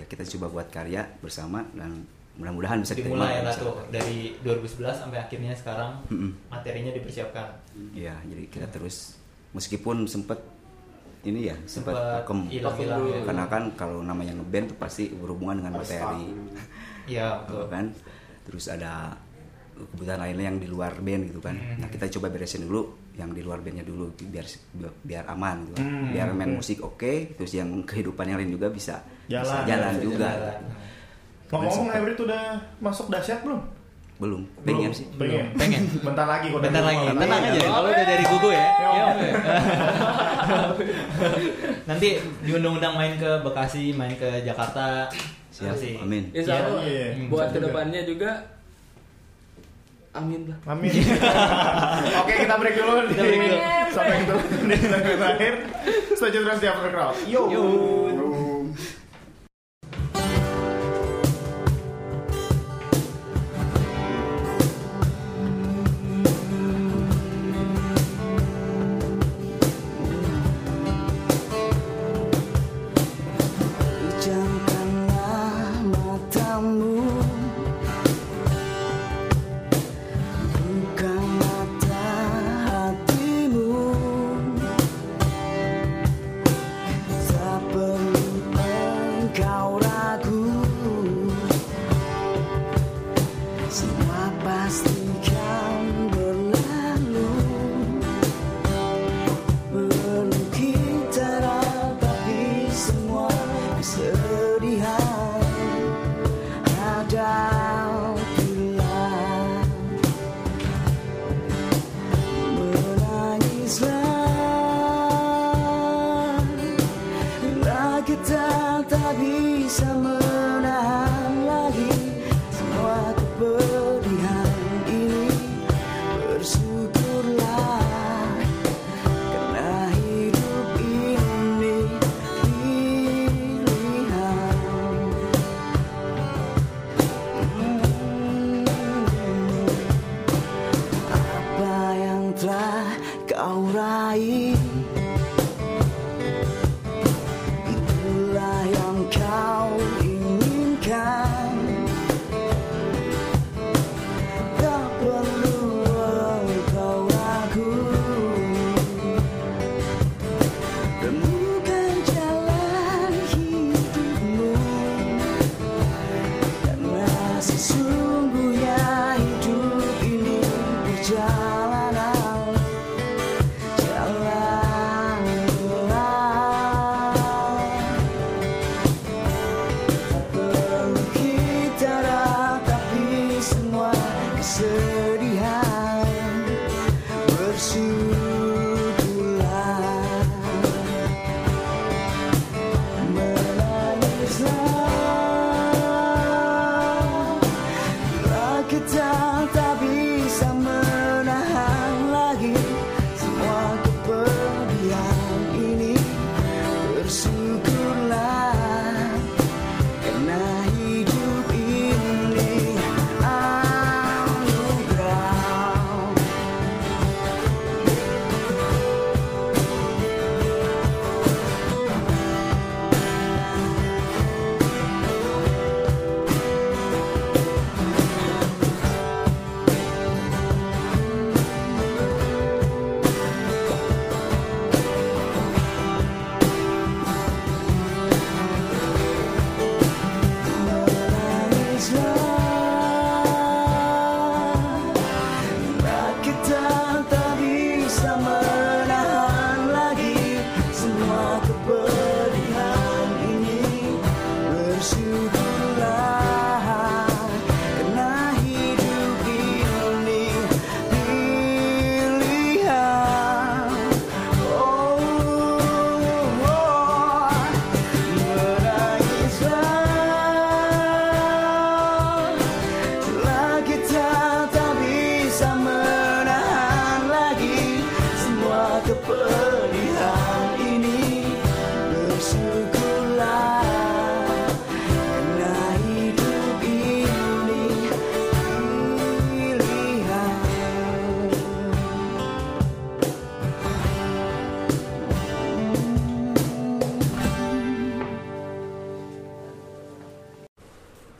Speaker 5: ya kita coba buat karya bersama dan mudah-mudahan bisa diterima.
Speaker 4: Dimulai lah
Speaker 5: bisa.
Speaker 4: tuh dari 2011 sampai akhirnya sekarang
Speaker 5: Mm-mm.
Speaker 4: materinya dipersiapkan.
Speaker 5: Iya, jadi kita terus meskipun sempet ini ya sempet
Speaker 4: Sempet
Speaker 5: vakum.
Speaker 4: hilang-hilang ya.
Speaker 5: karena kan kalau namanya ngeband tuh pasti berhubungan dengan
Speaker 7: Ada
Speaker 5: materi,
Speaker 4: Iya,
Speaker 5: gitu
Speaker 4: betul.
Speaker 5: kan. Terus ada kebutuhan lainnya yang di luar band gitu kan.
Speaker 4: Hmm.
Speaker 5: Nah kita coba beresin dulu yang di luar bandnya dulu biar biar aman gitu kan.
Speaker 4: Hmm.
Speaker 5: Biar main musik oke, terus yang kehidupan yang lain juga bisa
Speaker 3: Jalan.
Speaker 5: bisa jalan
Speaker 3: Bisa
Speaker 5: juga.
Speaker 4: jalan.
Speaker 3: Ngomong-ngomong hybrid udah masuk dahsyat belum?
Speaker 5: Belum, pengen
Speaker 3: Belum. Iya.
Speaker 5: sih.
Speaker 3: Pengen.
Speaker 4: Pengen.
Speaker 3: Bentar lagi kok.
Speaker 4: Bentar lagi,
Speaker 3: Bentar
Speaker 4: tenang aja. Kalau udah dari Gugu ya. Yo. Nanti diundang-undang main ke Bekasi, main ke Jakarta.
Speaker 5: Siap,
Speaker 4: Pasti.
Speaker 5: amin.
Speaker 6: Insya
Speaker 3: Iya,
Speaker 6: Allah
Speaker 4: Hmm.
Speaker 3: iya, iya.
Speaker 6: buat
Speaker 3: Bisa juga.
Speaker 6: kedepannya juga amin lah.
Speaker 3: Amin. Oke, kita break dulu.
Speaker 4: Kita break dulu.
Speaker 3: Sampai ketemu di lagu terakhir. Stay tune terus di After Crowd. Yo.
Speaker 7: Yo.
Speaker 5: Pejamkanlah matamu Buka mata hatimu Tak perlu Menyusut pulang Menangislah Terkejam tak bisa menahan lagi Semua kepedihan ini Bersyukurlah karena hidup ini anugerah Kita tak bisa menahan lagi semua kepedihan ini Bersyukurlah karena hidup ini pilihan Oh, menangislah Setelah kita tak bisa menahan lagi Semua kepedihan ini Bersyukurlah Karena hidup ini Pilihan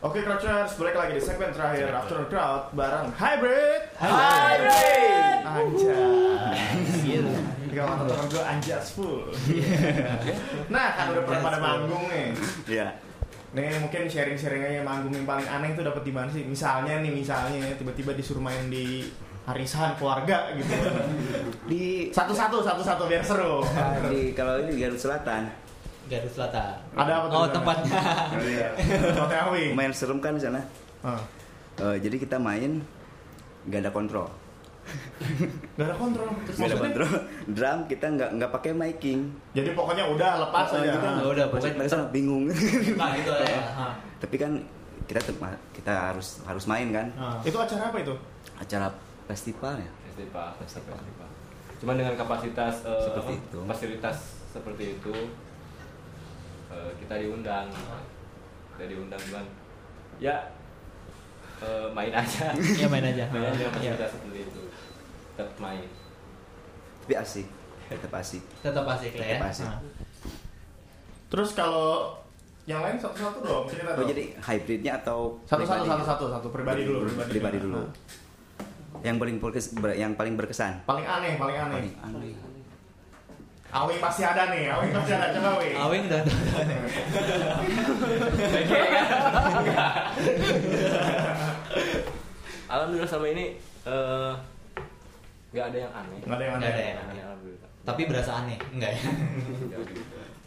Speaker 3: Oke Crouchers, balik lagi di segmen terakhir After Crowd bareng Hybrid
Speaker 6: Hybrid.
Speaker 3: Anjas Gak mata temen gue anjas full Nah kan udah pernah pada manggung nih
Speaker 9: Iya.
Speaker 3: Nih mungkin sharing-sharing aja manggung yang paling aneh itu dapat di mana sih Misalnya nih misalnya tiba-tiba disuruh main di harisan keluarga gitu
Speaker 9: Di
Speaker 3: Satu-satu, satu-satu biar seru
Speaker 9: di kalau ini di Garut Selatan.
Speaker 4: Garut Selatan.
Speaker 3: Ada apa tuh di
Speaker 4: Oh
Speaker 3: sana?
Speaker 4: tempatnya.
Speaker 3: Hotel Wi.
Speaker 9: Lumayan serem kan di sana.
Speaker 3: Ah,
Speaker 9: Eh, jadi kita main nggak ada kontrol.
Speaker 3: Gak ada kontrol Terus
Speaker 9: Nggak ada
Speaker 3: maksudnya?
Speaker 9: kontrol. Drum kita nggak nggak pakai miking.
Speaker 3: Jadi pokoknya udah lepas
Speaker 9: Eh,
Speaker 3: aja
Speaker 9: kita
Speaker 4: Ah,
Speaker 9: nggak-
Speaker 4: udah,
Speaker 9: maksudnya
Speaker 4: pokoknya-
Speaker 9: mereka sangat bingung.
Speaker 3: Ah,
Speaker 4: Nah
Speaker 3: gitu
Speaker 4: itu ada. ya. Ha.
Speaker 9: Tapi kan kita tetap- kita harus harus main kan.
Speaker 3: Ah, Itu acara apa itu?
Speaker 9: Acara festival ya.
Speaker 8: festival festival festival. Cuman dengan kapasitas eh,
Speaker 9: Seperti
Speaker 8: apa,
Speaker 9: itu.
Speaker 8: fasilitas seperti itu eh, kita diundang kita diundang cuman ya eh, main aja
Speaker 5: Iya,
Speaker 4: Ya main aja.
Speaker 8: main aja dengan
Speaker 3: Iya.
Speaker 4: Ya,
Speaker 8: fasilitas seperti itu tetap main
Speaker 9: Tapi asik. Tetap asik.
Speaker 4: Tetap asik lah ya.
Speaker 9: Tetap asik.
Speaker 4: Ha.
Speaker 3: Terus kalau yang lain satu-satu dong, cerita
Speaker 9: Oh
Speaker 3: dong.
Speaker 9: jadi hybridnya atau
Speaker 3: satu-satu
Speaker 9: pribadi?
Speaker 4: gitu.
Speaker 3: satu-satu satu pribadi dulu, Ah. pribadi,
Speaker 9: Pribadi dulu. Yang paling berkes- ber- yang paling berkesan.
Speaker 3: Paling aneh, paling aneh.
Speaker 9: Paling aneh.
Speaker 3: Awi pasti ada nih, Awi pasti ada coba Awi.
Speaker 4: Awing udah
Speaker 8: alhamdulillah selama ini eh, nggak ada ya? yang aneh
Speaker 3: Nggak ada yang
Speaker 4: Nggak ada
Speaker 3: aneh.
Speaker 4: yang aneh.
Speaker 8: alhamdulillah
Speaker 4: tapi berasa aneh enggak ya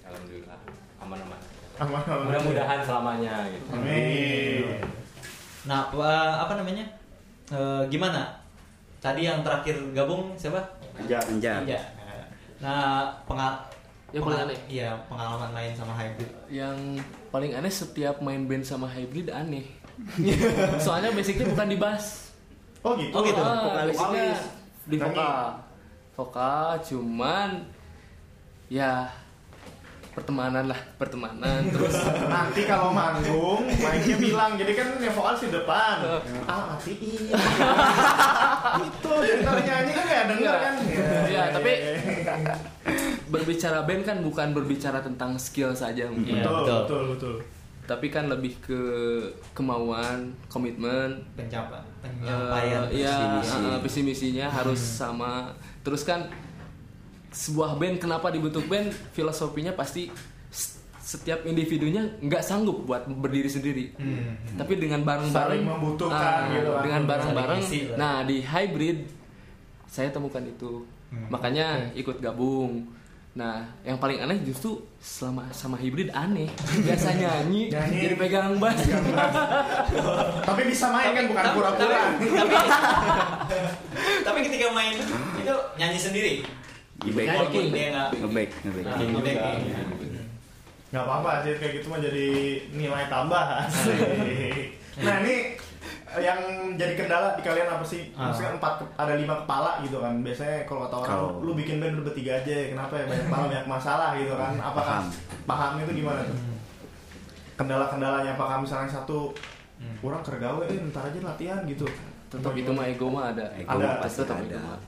Speaker 8: alhamdulillah aman aman
Speaker 3: Aman, aman.
Speaker 8: mudah-mudahan selamanya gitu
Speaker 3: Amin.
Speaker 4: nah apa- apa namanya Eh, gimana tadi yang terakhir gabung siapa
Speaker 10: Kejar.
Speaker 9: Anjar.
Speaker 4: Iya. nah pengal
Speaker 6: Yang paling aneh.
Speaker 4: iya pengalaman main sama hybrid
Speaker 6: Yang paling aneh setiap main band sama hybrid aneh. Soalnya basicnya bukan di bass.
Speaker 3: Oh gitu.
Speaker 4: Oh, gitu.
Speaker 6: Ah,
Speaker 4: Vokalis.
Speaker 6: basicnya di
Speaker 3: Nyanyi.
Speaker 6: vokal. Vokal cuman ya pertemanan lah, pertemanan terus
Speaker 3: Nanti kalau manggung, mainnya bilang, jadi kan yang vokal di depan. Ah, mati iya. Itu, jadi kalau nyanyi kan nggak denger kan.
Speaker 6: Iya, tapi- berbicara band kan bukan berbicara tentang skill saja
Speaker 4: Iya,
Speaker 6: mungkin.
Speaker 3: betul,
Speaker 4: betul.
Speaker 3: betul, betul.
Speaker 6: Tapi kan lebih ke kemauan, komitmen,
Speaker 4: pencapaian penyampaian
Speaker 6: Eh, Iya,
Speaker 9: Visi-misi.
Speaker 6: eh, eh, visi misinya harus sama. Terus kan sebuah band kenapa dibentuk band? Filosofinya pasti s- setiap individunya nggak sanggup buat berdiri sendiri.
Speaker 4: Hmm.
Speaker 6: Tapi dengan bareng-bareng
Speaker 3: Saling membutuhkan
Speaker 6: ah,
Speaker 3: gitu kan.
Speaker 6: Dengan bareng-bareng.
Speaker 4: Saling isi lah.
Speaker 6: Nah, di hybrid saya temukan itu.
Speaker 3: Hmm.
Speaker 6: Makanya ikut gabung. Nah, yang paling aneh justru selama sama hybrid aneh. Biasa nyanyi,
Speaker 3: Nyanyi.
Speaker 6: jadi pegang bass.
Speaker 3: Tapi bisa main kan, bukan kan, pura-pura.
Speaker 4: tapi, tapi, tapi ketika main itu nyanyi sendiri.
Speaker 3: Iya,
Speaker 5: Ngebek.
Speaker 4: Walaupun dia nggak
Speaker 5: Ngebek, ngebek.
Speaker 4: Nah, ngebacking.
Speaker 3: nggak apa-apa sih kayak gitu mah jadi nilai tambah
Speaker 5: Iya.
Speaker 3: nah ini yang jadi kendala di kalian apa sih
Speaker 5: Ah.
Speaker 3: maksudnya empat ke- ada lima kepala gitu kan biasanya kalau kata orang
Speaker 5: Kalau-
Speaker 3: lu bikin band lu bertiga aja ya kenapa ya banyak kepala banyak masalah gitu kan apakah
Speaker 5: Hmm, Paham. Hmm.
Speaker 3: paham itu gimana tuh kendala-kendalanya apakah misalnya satu
Speaker 5: Hmm.
Speaker 3: orang kergawe eh, ntar aja latihan gitu
Speaker 6: tetap
Speaker 3: Apa
Speaker 6: itu
Speaker 3: gimana?
Speaker 6: mah ego mah
Speaker 9: Nah,
Speaker 6: ada
Speaker 5: Ego
Speaker 3: Ada,
Speaker 5: mah pasti
Speaker 6: tetap
Speaker 5: ada.
Speaker 6: ego mah.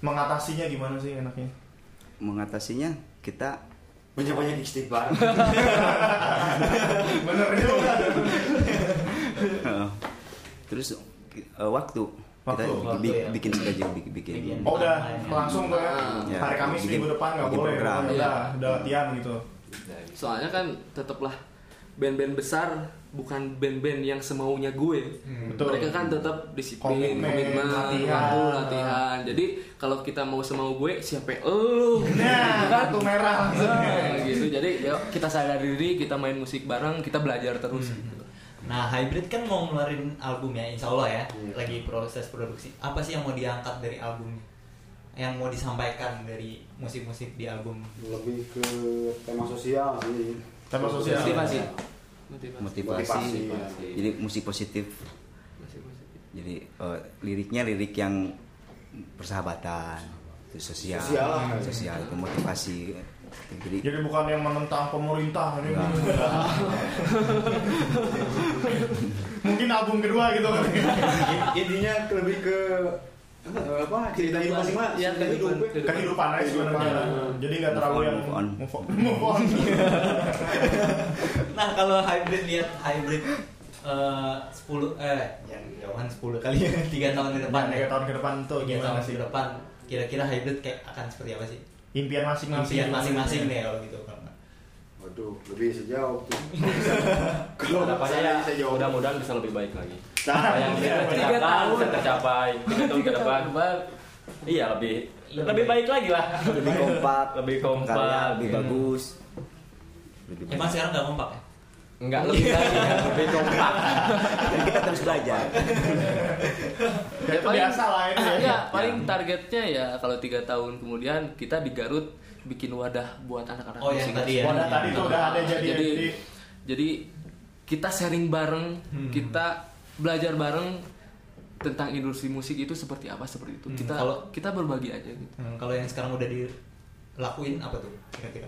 Speaker 3: mengatasinya gimana sih enaknya
Speaker 5: Mengatasinya kita
Speaker 7: Banyak-banyak istighfar.
Speaker 3: bener juga
Speaker 5: Heeh. terus eh, waktu kita
Speaker 3: Waktu,
Speaker 5: bi-
Speaker 4: waktu
Speaker 5: bi-
Speaker 4: ya.
Speaker 5: bikin saja bikin bikin
Speaker 4: Bikin.
Speaker 3: Oh udah langsung tuh ya.
Speaker 5: Ya,
Speaker 3: Hari Kamis
Speaker 5: bikin-
Speaker 3: minggu depan nggak
Speaker 5: bikin
Speaker 3: boleh.
Speaker 5: program.
Speaker 3: Udah,
Speaker 6: Iya.
Speaker 3: udah latihan gitu.
Speaker 6: soalnya kan tetaplah band-band besar bukan band-band yang semaunya gue
Speaker 3: Betul.
Speaker 6: mereka kan tetap disiplin
Speaker 3: Hmm, Komitmen,
Speaker 6: komitmen
Speaker 3: latihan.
Speaker 6: waktu latihan jadi kalau kita mau semau gue siapa lu
Speaker 3: Nah, kartu merah langsung.
Speaker 6: Nah, gitu jadi ya, kita sadar diri kita main musik bareng kita belajar
Speaker 3: Hmm.
Speaker 6: terus gitu.
Speaker 4: Nah, Hybrid kan mau ngeluarin albumnya, insya Allah ya,
Speaker 3: Iya.
Speaker 4: lagi proses produksi. Apa sih yang mau diangkat dari album? Yang mau disampaikan dari musik-musik di album?
Speaker 7: Lebih ke tema sosial sih.
Speaker 3: Tema sosial.
Speaker 6: motivasi
Speaker 5: motivasi
Speaker 7: Motivasi.
Speaker 5: jadi musik positif jadi eh, liriknya lirik yang persahabatan terus sosial
Speaker 7: Sosial lah.
Speaker 5: sosial itu motivasi jadi
Speaker 3: Jadi bukan yang menentang pemerintah ini. Mungkin album kedua gitu kan.
Speaker 7: In- Intinya lebih ke apa, eh, apa cerita hidup masing
Speaker 6: Iya, kehidupan.
Speaker 7: gitu.
Speaker 3: Kehidupan aja sebenarnya.
Speaker 4: ya.
Speaker 3: Jadi nggak terlalu yang
Speaker 5: Move on,
Speaker 3: move on. Move on.
Speaker 4: Nah, kalau Hybrid lihat Hybrid eh 10 eh yang jauhan 10 kali ya, 3 tahun ke depan
Speaker 3: Tiga
Speaker 4: ya.
Speaker 3: tahun ke depan tuh
Speaker 4: 3
Speaker 3: gimana
Speaker 4: tahun
Speaker 3: sih?
Speaker 4: ke depan kira-kira Hybrid kayak akan seperti apa sih?
Speaker 3: Impian masing-masing.
Speaker 4: Impian masing-masing deh kalau gitu kalau nggak.
Speaker 7: Waduh, lebih sejauh tuh. Kalau
Speaker 8: Harapannya ya
Speaker 7: misalnya bisa jawab.
Speaker 8: mudah-mudahan bisa lebih baik lagi.
Speaker 7: Nah,
Speaker 8: Apa yang kita kerjakan bisa tercapai tiga tahun ke depan. Iya lebih lebih baik lagi lah.
Speaker 5: lebih kompak
Speaker 8: Lebih kompak. ya.
Speaker 5: karya lebih bagus lebih bagus.
Speaker 4: Emang sekarang nggak kompak ya?
Speaker 8: Enggak
Speaker 3: Iya,
Speaker 8: lebih lagi ya, lebih kompak.
Speaker 5: Jadi kita terus belajar
Speaker 3: Ya, itu biasa lah itu ya.
Speaker 6: ya, paling targetnya ya kalau tiga tahun kemudian kita di Garut bikin wadah buat anak-anak
Speaker 4: Oh, yang
Speaker 6: musik.
Speaker 4: tadi ya.
Speaker 3: Wadah Iya, tadi tuh udah ada jadi.
Speaker 6: Nah, jadi
Speaker 3: jadi
Speaker 6: jadi kita sharing bareng
Speaker 3: Hmm.
Speaker 6: kita belajar bareng tentang industri musik itu seperti apa seperti itu
Speaker 4: Hmm,
Speaker 6: kita
Speaker 4: kalau-
Speaker 6: kita berbagi aja gitu
Speaker 4: Hmm, kalau yang sekarang udah dilakuin apa tuh kira-kira?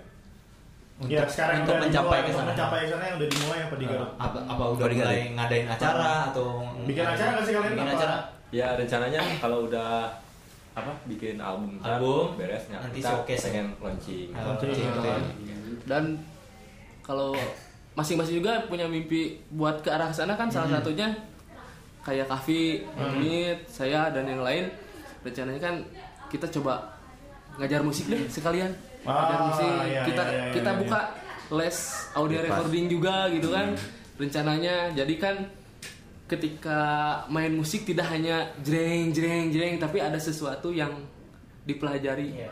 Speaker 4: Untuk,
Speaker 3: ya sekarang
Speaker 4: untuk
Speaker 3: udah
Speaker 4: mencapai
Speaker 3: dimulai,
Speaker 4: ke sana. Nah. Hmm,
Speaker 3: mencapai ke sana yang udah dimulai apa di Garut?
Speaker 4: apa, apa udah
Speaker 5: Bodyguard.
Speaker 4: mulai ngadain acara atau
Speaker 3: Bikin Ah, acara nggak sih kalian?
Speaker 4: Bikin
Speaker 3: Apa?
Speaker 4: acara
Speaker 8: Ya rencananya kalau udah apa bikin album kan,
Speaker 4: Album,
Speaker 8: beresnya
Speaker 4: nanti
Speaker 8: kita
Speaker 4: showcase.
Speaker 8: pengen launching.
Speaker 4: Nah,
Speaker 3: Oke.
Speaker 4: gitu ya.
Speaker 6: dan kalau masing-masing juga punya mimpi buat ke arah sana kan
Speaker 3: Hmm.
Speaker 6: salah satunya kayak Kavi, Amit, saya dan yang lain rencananya kan kita coba ngajar musik deh sekalian
Speaker 3: Ah,
Speaker 6: ngajar musik
Speaker 3: iya,
Speaker 6: kita
Speaker 3: iya, iya,
Speaker 6: kita
Speaker 3: iya. Hmm.
Speaker 6: buka les audio
Speaker 5: Lepas.
Speaker 6: recording juga gitu kan rencananya jadi kan ketika main musik tidak hanya jreng jreng jreng tapi ada sesuatu yang dipelajari
Speaker 4: Iya.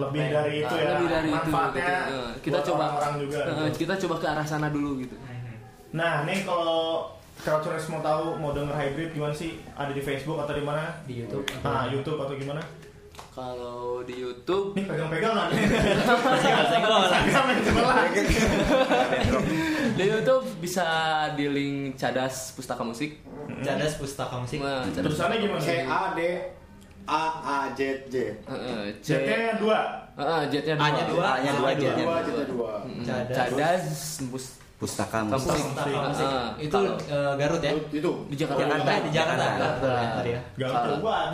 Speaker 3: lebih dari itu ya
Speaker 6: lebih dari itu
Speaker 3: manfaatnya
Speaker 6: gitu. Eh, kita
Speaker 3: buat
Speaker 6: coba
Speaker 3: orang-orang juga
Speaker 6: eh,
Speaker 3: gitu.
Speaker 6: kita coba ke arah sana dulu gitu
Speaker 3: nah nih kalau Crouchers mau tahu mau denger hybrid gimana sih ada di Facebook atau di mana
Speaker 4: di YouTube
Speaker 3: nah YouTube atau gimana
Speaker 6: kalau di YouTube
Speaker 3: nih pegang-pegang kan
Speaker 4: Senggol.
Speaker 6: di YouTube bisa di link cadas pustaka musik
Speaker 3: Hmm.
Speaker 4: Cadas Pustaka Musik
Speaker 6: Nah, cadas
Speaker 3: terusannya gimana
Speaker 7: C A D A A Z Z.
Speaker 6: Eh, eh, C
Speaker 3: JT-nya dua
Speaker 6: Eh, jetnya dua
Speaker 4: A-nya dua,
Speaker 5: A-nya dua,
Speaker 4: A-nya Hmm,
Speaker 5: J-nya
Speaker 7: Dua juta dua.
Speaker 6: Mm,
Speaker 4: Cadas.
Speaker 6: cadas pus-
Speaker 5: pustaka
Speaker 6: Kampus.
Speaker 5: musik
Speaker 4: Pustaka Musik
Speaker 6: Ah,
Speaker 4: itu
Speaker 6: kalau-
Speaker 4: eh, Garut ya
Speaker 7: Itu.
Speaker 6: di Jakarta
Speaker 5: Jakarta.
Speaker 4: Eh, di Jakarta
Speaker 5: Jakarta.
Speaker 4: Betul ya, tadi ya.
Speaker 3: Gak
Speaker 6: Salah.
Speaker 3: keluar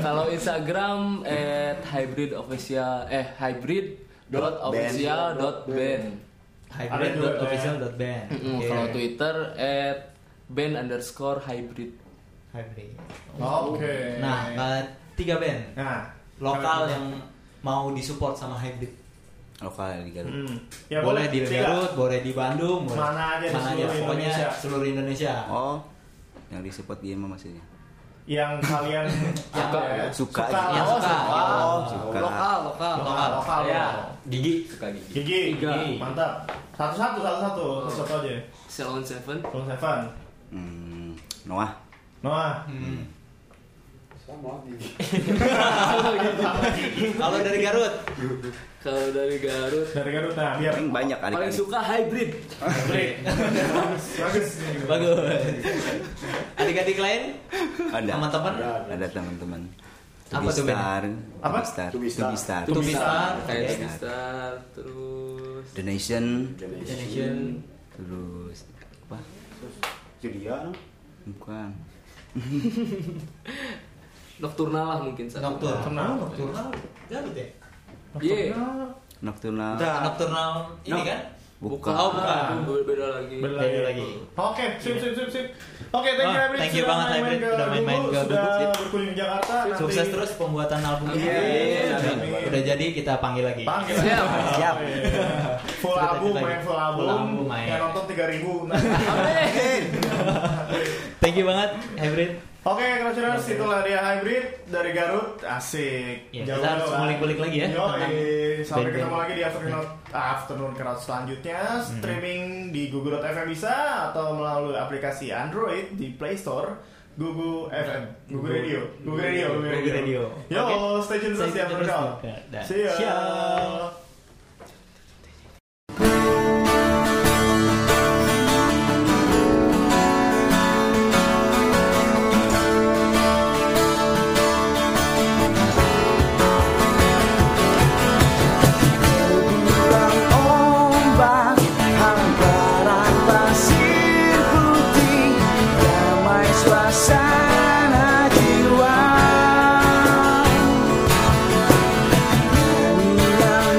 Speaker 6: kalau Instagram at hybrid official eh hybrid dot official dot band
Speaker 4: hybrid.official.band
Speaker 6: Mm,
Speaker 4: Oke.
Speaker 6: kalau Twitter at band underscore hybrid
Speaker 4: hybrid
Speaker 3: oke
Speaker 4: nah eh, tiga band
Speaker 3: nah
Speaker 4: lokal yang mau disupport sama hybrid
Speaker 5: lokal di Garut
Speaker 3: Mm. ya
Speaker 4: boleh di
Speaker 3: Silakan.
Speaker 4: Garut boleh di Bandung boleh
Speaker 3: Mana aja di seluruh
Speaker 4: pokoknya
Speaker 3: Indonesia.
Speaker 4: seluruh Indonesia
Speaker 5: oh yang di support dia mah maksudnya
Speaker 3: yang kalian
Speaker 4: Yang
Speaker 3: apa ya,
Speaker 5: suka
Speaker 3: suka
Speaker 5: aja.
Speaker 4: yang
Speaker 3: Oh,
Speaker 4: suka
Speaker 3: lokal.
Speaker 5: Suka.
Speaker 6: lokal Ya.
Speaker 3: lokal lokal
Speaker 8: Saya gigi suka gigi.
Speaker 3: gigi
Speaker 6: Tiga. Oh.
Speaker 3: mantap satu satu satu satu satu aja
Speaker 6: Salon Seven
Speaker 3: Bang Seven
Speaker 5: Hmm, Noah
Speaker 3: Noah
Speaker 4: Hmm.
Speaker 7: sama nih.
Speaker 4: Kalau dari Garut,
Speaker 6: Kalau dari Garut
Speaker 3: Dari Garut nah biar
Speaker 5: Paling banyak adik
Speaker 6: paling suka hybrid.
Speaker 3: bagus.
Speaker 4: bagus. Adik-adik lain
Speaker 5: Ada.
Speaker 4: sama teman
Speaker 5: Ada teman-teman.
Speaker 4: Apa tuh, Ben?
Speaker 5: Tubistar,
Speaker 3: Apa?
Speaker 5: Tubistar,
Speaker 7: Tubistar.
Speaker 5: Tubistar,
Speaker 4: Tubistar,
Speaker 6: Kayak
Speaker 4: oke.
Speaker 6: Star, terus
Speaker 5: The Nation,
Speaker 4: Generation.
Speaker 5: terus apa?
Speaker 7: Julia,
Speaker 5: Bukan.
Speaker 6: Nocturnal lah mungkin satu.
Speaker 4: Nocturnal.
Speaker 3: Nocturnal,
Speaker 4: Nocturnal. Garut ya?
Speaker 6: Iya.
Speaker 5: Nocturnal.
Speaker 4: Nocturnal ini
Speaker 5: No.
Speaker 4: kan?
Speaker 5: Bukan.
Speaker 6: Oh,
Speaker 4: bukan.
Speaker 6: bukan. Beda lagi.
Speaker 3: Balik
Speaker 4: Balik
Speaker 3: lagi.
Speaker 4: lagi.
Speaker 3: Oke, sip sip sip sip. Oke, thank you
Speaker 4: Wah,
Speaker 3: Hybrid.
Speaker 4: Ah, thank you
Speaker 3: Sudah
Speaker 4: banget,
Speaker 3: main-main
Speaker 4: Hybrid.
Speaker 3: ke
Speaker 4: Sudah main-main
Speaker 3: Bungku,
Speaker 4: ke
Speaker 3: sudah
Speaker 4: Bungku, Sip.
Speaker 3: berkunjung Jakarta. nanti
Speaker 4: Sukses terus pembuatan album ini.
Speaker 6: Iya.
Speaker 4: Amin.
Speaker 3: Amin.
Speaker 4: Udah jadi kita panggil lagi.
Speaker 3: Panggil.
Speaker 6: Siap.
Speaker 5: Siap.
Speaker 3: Iya. Full
Speaker 4: Kita
Speaker 3: album,
Speaker 4: lanjut
Speaker 3: main
Speaker 4: lagi.
Speaker 3: full album.
Speaker 4: Full album, main.
Speaker 3: Yang nonton 3000. Nah.
Speaker 4: Thank you banget, Hybrid.
Speaker 3: Oke, Crouchers, itulah dia hybrid dari Garut. Asik.
Speaker 4: Ya, kita harus
Speaker 3: lah.
Speaker 4: ngulik-ngulik lagi ya,
Speaker 3: Yoi.
Speaker 4: tentang
Speaker 3: sampai
Speaker 4: band-band.
Speaker 3: ketemu lagi di afternoon afternoon crowd selanjutnya.
Speaker 4: Mm-hmm.
Speaker 3: Streaming di Google FM bisa atau melalui aplikasi Android di Play Store. Google FM, Google Radio, Google Radio,
Speaker 4: Nah, Google Radio.
Speaker 3: Yo,
Speaker 4: Oke.
Speaker 3: stay tune terus di
Speaker 4: Stay tune terus
Speaker 3: Afternoon
Speaker 4: di
Speaker 3: Crowd.
Speaker 4: Afternoon.
Speaker 3: See ya.
Speaker 4: See ya.
Speaker 2: Ombak, hamparan pasir putih, damai suasana jiwa. Nyanyian